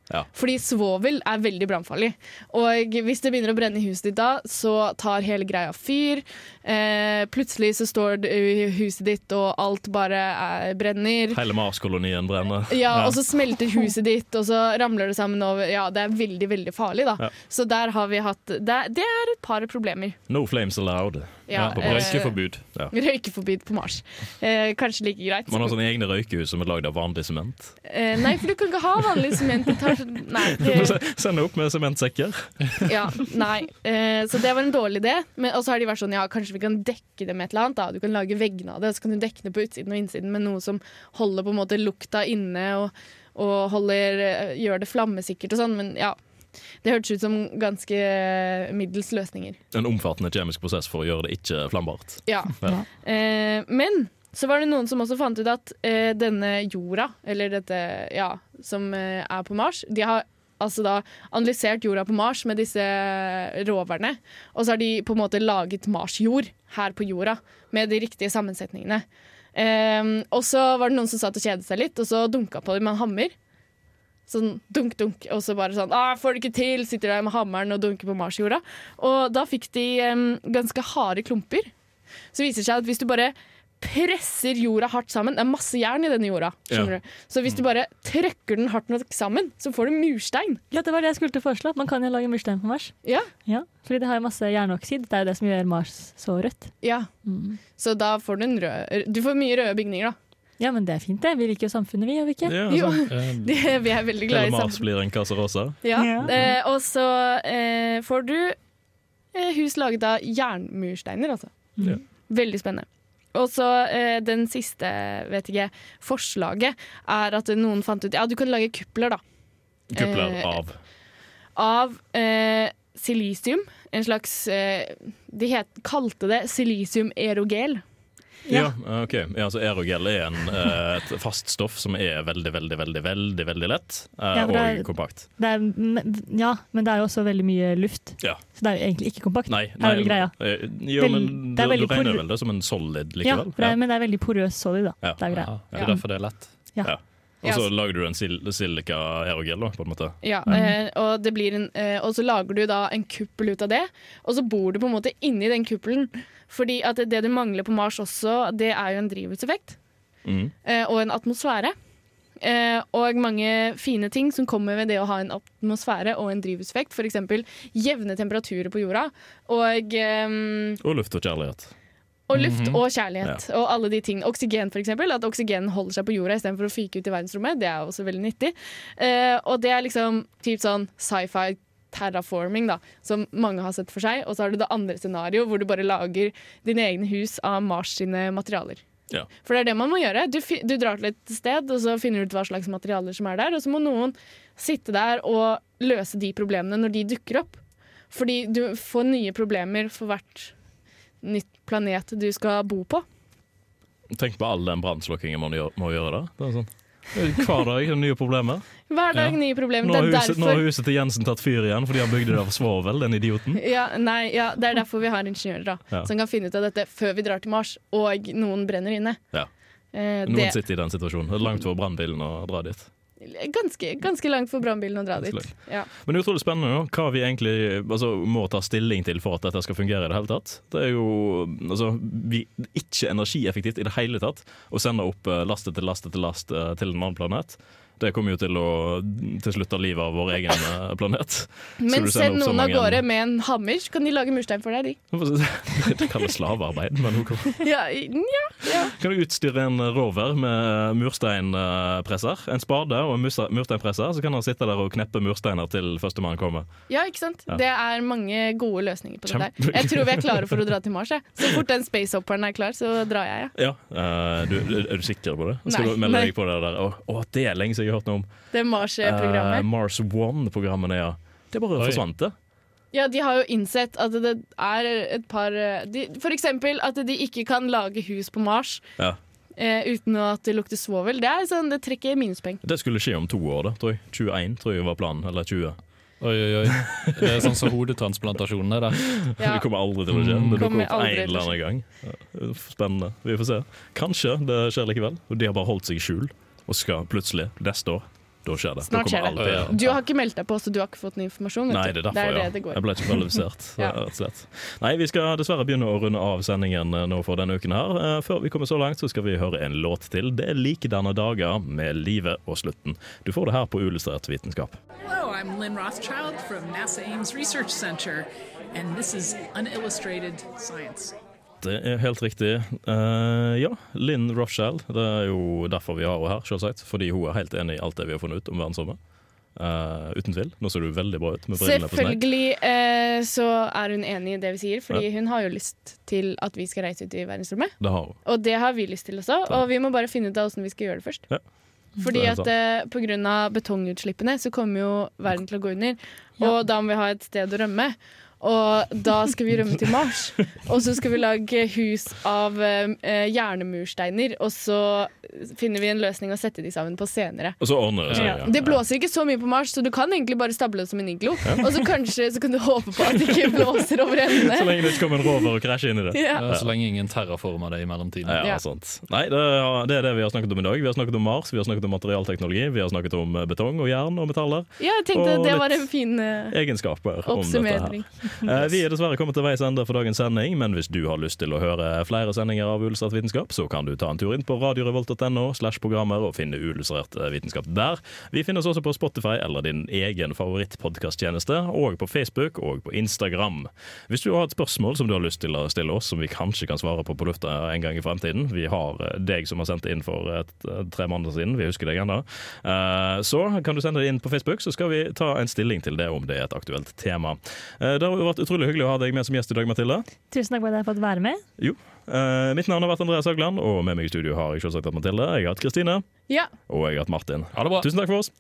Ja.
Fordi svovel er veldig brannfarlig. Og hvis det begynner å brenne i huset ditt da, så tar hele greia fyr. Eh, plutselig så står det i huset ditt, og alt bare eh, brenner.
Hele Mars-kolonien brenner.
[laughs] Ja, og så smelter huset ditt, og så ramler det sammen over. Ja, det er veldig, veldig farlig, da.
Ja.
Så der har vi hatt Det, det er et par problemer.
No flames allowed.
Ja,
på
eh,
Mars. Røykeforbud. Ja.
Røykeforbud på Mars. Eh, kanskje like greit.
Man har sånne egne røykehus som er lagd av vanlig sement.
Eh, nei, for du kan ikke ha vanlig sement. Det tar så- Nei.
[laughs] Du får
Det,
se- Sende opp med sementsekker.
Ja, nei. Eh, så det var en dårlig idé. Men, og så har de vært sånn ja, kanskje vi kan dekke det med et eller annet. da. Du kan lage veggene av det, så kan du dekke det på utsiden og innsiden med noe som holder på en måte lukta inne og, og holder, eh, gjør det flammesikkert og sånn. Men ja. Det hørtes ut som ganske eh, middels løsninger.
En omfattende kjemisk prosess for å gjøre det ikke flammbart.
Ja.
Ja.
Eh, men så var det noen som også fant ut at eh, denne jorda, eller dette ja, som eh, er på Mars De har altså da analysert jorda på Mars med disse roverne. Og så har de på en måte laget Mars-jord her på jorda med de riktige sammensetningene. Eh, og så var det noen som satt og kjedet seg litt, og så dunka på dem med en hammer. Sånn dunk, dunk, og så bare sånn ah, 'Får det ikke til!' Sitter der med hammeren og dunker på Mars-jorda. Og da fikk de eh, ganske harde klumper. Så viser det seg at hvis du bare presser jorda hardt sammen Det er masse jern i denne jorda. skjønner du? Så hvis du bare trøkker den hardt nok sammen, så får du murstein.
Ja, det var det jeg skulle til å foreslå. Man kan jo lage murstein på Mars.
Ja.
Ja, fordi det har jo masse jernoksid. Det er jo det som gjør Mars så rødt.
ja. Så da får du en rød Du får mye røde bygninger, da. [laughs]
Ja, men det er fint, det. Vi liker jo samfunnet, vi, gjør vi ikke?
Ja,
Jo,
[laughs]
sånn.
Eh,
det, vi er veldig glad
Hele
i
Mars
samfunn.
blir en kasse rosa.
Ja.
Ja.
Eh, og så eh, får du eh, hus laget av jernmursteiner, altså.
Ja.
Veldig spennende. Og så eh, den siste, vet ikke, forslaget er at noen fant ut Ja, du kan lage kupler, da.
Kupler
Eh,
av.
av eh, silisium. En slags eh, De het, kalte det silisium-erogel.
Ja, ok. Ja, så Aerogel er en, eh, et fast stoff som er veldig, veldig, veldig veldig, veldig lett eh,
Ja, for det er-
og kompakt.
Det er, men, ja, men det er jo også veldig mye luft,
Ja.
så det er jo egentlig ikke kompakt.
Nei,
er vel greia.
eh, Jo,
Vel-
men
det
du,
er
du
veldig
regner
porø-
vel det som en solid
ja,
likevel?
for det er, men det er veldig porøs solid, da.
Ja.
Det er greia.
ja, det er derfor det er lett.
Og så lager du en sil silika-aerogel, da, på en måte.
Ja, eh, og, det blir en, eh, og så lager du da en kuppel ut av det, og så bor du på en måte inni den kuppelen. Fordi at det du mangler på Mars også, det er jo en drivhuseffekt
Mhm.
eh, og en atmosfære. Eh, og mange fine ting som kommer ved det å ha en atmosfære og en drivhuseffekt. F.eks. jevne temperaturer på jorda. Og ehm,
Og luft og kjærlighet.
og luft og kjærlighet og alle de tingene. Oksygen, f.eks. At oksygen holder seg på jorda istedenfor å fyke ut i verdensrommet. Det er også veldig nyttig. Eh, og det er liksom typ sånn sci-fi terraforming, da, som mange har sett for seg. Og så har du det andre scenarioet, hvor du bare lager dine egne hus av Mars sine materialer.
Ja.
For det er det man må gjøre. Du, fi- du drar til et sted, og så finner du ut hva slags materialer som er der, og så må noen sitte der og løse de problemene når de dukker opp. Fordi du får nye problemer for hvert nytt planet du skal bo på.
Tenk på all den brannslukkingen man gjør, må gjøre der. Det er sånn. Hver dag er det nye problemer.
Hver dag
Ja.
nye problemer.
Nå
Det
har,
er
huset, nå har
derfor
huset til Jensen tatt fyr igjen fordi han bygde det av svovel, den idioten.
ja, nei, ja, Det er derfor vi har ingeniører da,
Ja.
som kan finne ut av dette før vi drar til Mars, og noen brenner inne.
Ja.
Eh,
Noen
det
sitter i den situasjonen. Det er langt for brannbilen å dra dit.
er ganske, ganske langt for brannbilen å dra dit.
Ganske
Ja.
Men det er utrolig spennende nå, hva vi egentlig altså, må ta stilling til for at dette skal fungere i det hele tatt. Det er jo altså, vi, ikke energieffektivt i det hele tatt å sende opp eh, last etter last etter last eh, til en annen planet. Det kommer jo til å til slutt ta livet av vår egen eh, planet. [laughs] Skal
Men
du
send
sende opp så
noen av
mange-
gårde med en hammer, så kan de lage murstein for deg, de.
Det kalles slavearbeid, men ok.
Ja, i- nja.
Kan du utstyre en rover med mursteinpresser? En spade og en murste- mursteinpresser, så kan han sitte der og kneppe mursteiner til førstemann kommer.
ja, ikke sant?
Ja.
Det er mange gode løsninger på det
Kjempe-
der. Jeg tror vi er klare for å dra til Mars. Jeg. Så fort den spacehopperen er klar, så drar jeg. jeg.
Ja, eh, du, Er du sikker på det? Skal
Nei,
du melde
nei.
deg på det der? Å, å, det er lenge siden jeg har hørt noe om.
Det Mars-programmet.
Eh, Mars One-programmene, ja. Det bare
Oi.
forsvant, det.
Ja, de har jo innsett at det er et par eh, de, For eksempel at de ikke kan lage hus på Mars
Ja.
eh, uten at det lukter svovel. Det, er sånn, det trekker minuspoeng.
Det skulle skje om to år, da, tror jeg. 21 tror jeg var planen. Eller 20.
Oi, oi, oi. Det er sånn som hodetransplantasjonen er der.
Ja.
[laughs] Det kommer aldri til å skje. Det dukker
Kommer
opp en
aldri til
eller
å
annen gang. Ja, Spennende. Vi får se. Kanskje det skjer likevel. Og de har bare holdt seg i skjul, og skal plutselig, neste år, da skjer det. Da kommer
Snart skjer det.
alt igjen.
Du har ikke meldt deg på, så du har ikke fått noen informasjon. vet
Nei, det
du.
er derfor,
det,
ja.
det går.
Jeg ble ikke kvalifisert,
[laughs] Ja.
rett og slett. Nei, vi skal dessverre begynne å runde av sendingen eh, nå for denne uken her. Eh, Før vi kommer så langt, så skal vi høre en låt til. Det er likedanne dager med livet og slutten. Du får det her på Uillustrert vitenskap.
Hello, I'm Lynn Rothschild from NASA Ames Research Center, and this is Unillustrated Science.
Det er helt riktig. Eh, ja, Lynn Rothschild. Det er jo derfor vi har henne her, selvsagt. Fordi hun er helt enig i alt det vi har funnet ut om verdensrommet. Eh, uten tvil. Nå ser du veldig bra ut med brillene på snei.
Selvfølgelig eh, så er hun enig i det vi sier, fordi hun har jo lyst til at vi skal reise ut i verdensrommet.
Det har hun.
Og det har vi lyst til også, og vi må bare finne ut av hvordan vi skal gjøre det først.
Ja.
Fordi
Det er
at eh, på grunn av betongutslippene så kommer jo verden til å gå under, og da må vi ha et sted å rømme. Og da skal vi rømme til
[laughs]
Mars. Og så skal vi lage hus av eh, eh, jernemursteiner, og så finner vi en løsning å sette de sammen på senere.
Og så ordner det seg.
Ja.
ja.
Det blåser ikke så mye på Mars, så du kan egentlig bare stable det som en iglo. Og så kanskje så kan du håpe på at det
[laughs]
ikke blåser over
Så
endene.
lenge det ikke kommer en rover og krasjer inn i det.
Ja.
Ja, Så lenge ingen terraformer det i mellomtiden.
Ja,
Ja.
sant. Nei, det er, det er det vi har snakket om i dag. Vi har snakket om Mars, vi har snakket om materialteknologi, vi har snakket om eh, betong og jern og metaller.
ja, jeg tenkte
Og
at det
litt
var en fin eh,
Egenskaper om dette her.
oppsummering.
Eh, Vi er dessverre kommet til veis ende for dagens sending, men hvis du har lyst til å høre flere sendinger av Ullustrert vitenskap, så kan du ta en tur inn på radiorevolt.no slash programmer og finne Ullustrert vitenskap der. Vi finnes også på Spotify eller din egen favorittpodkasttjeneste, og på Facebook og på Instagram. Hvis du har et spørsmål som du har lyst til å stille oss, som vi kanskje kan svare på på lufta en gang i fremtiden Vi har eh, deg som har sendt inn for et, eh, tre måneder siden, vi husker deg ennå. Eh, Så kan du sende det inn på Facebook, så skal vi ta en stilling til det om det er et aktuelt tema. Eh, Det har jo vært utrolig hyggelig å ha deg med som gjest i dag, Mathilde.
Tusen takk for at jeg har fått være med.
Jo. Eh, Mitt navn har vært Andreas Haugland, og med meg i studio har jeg selvsagt hatt Mathilde. Jeg har hatt Kristine,
Ja.
og jeg har hatt Martin.
Ha det bra.
Tusen takk for oss.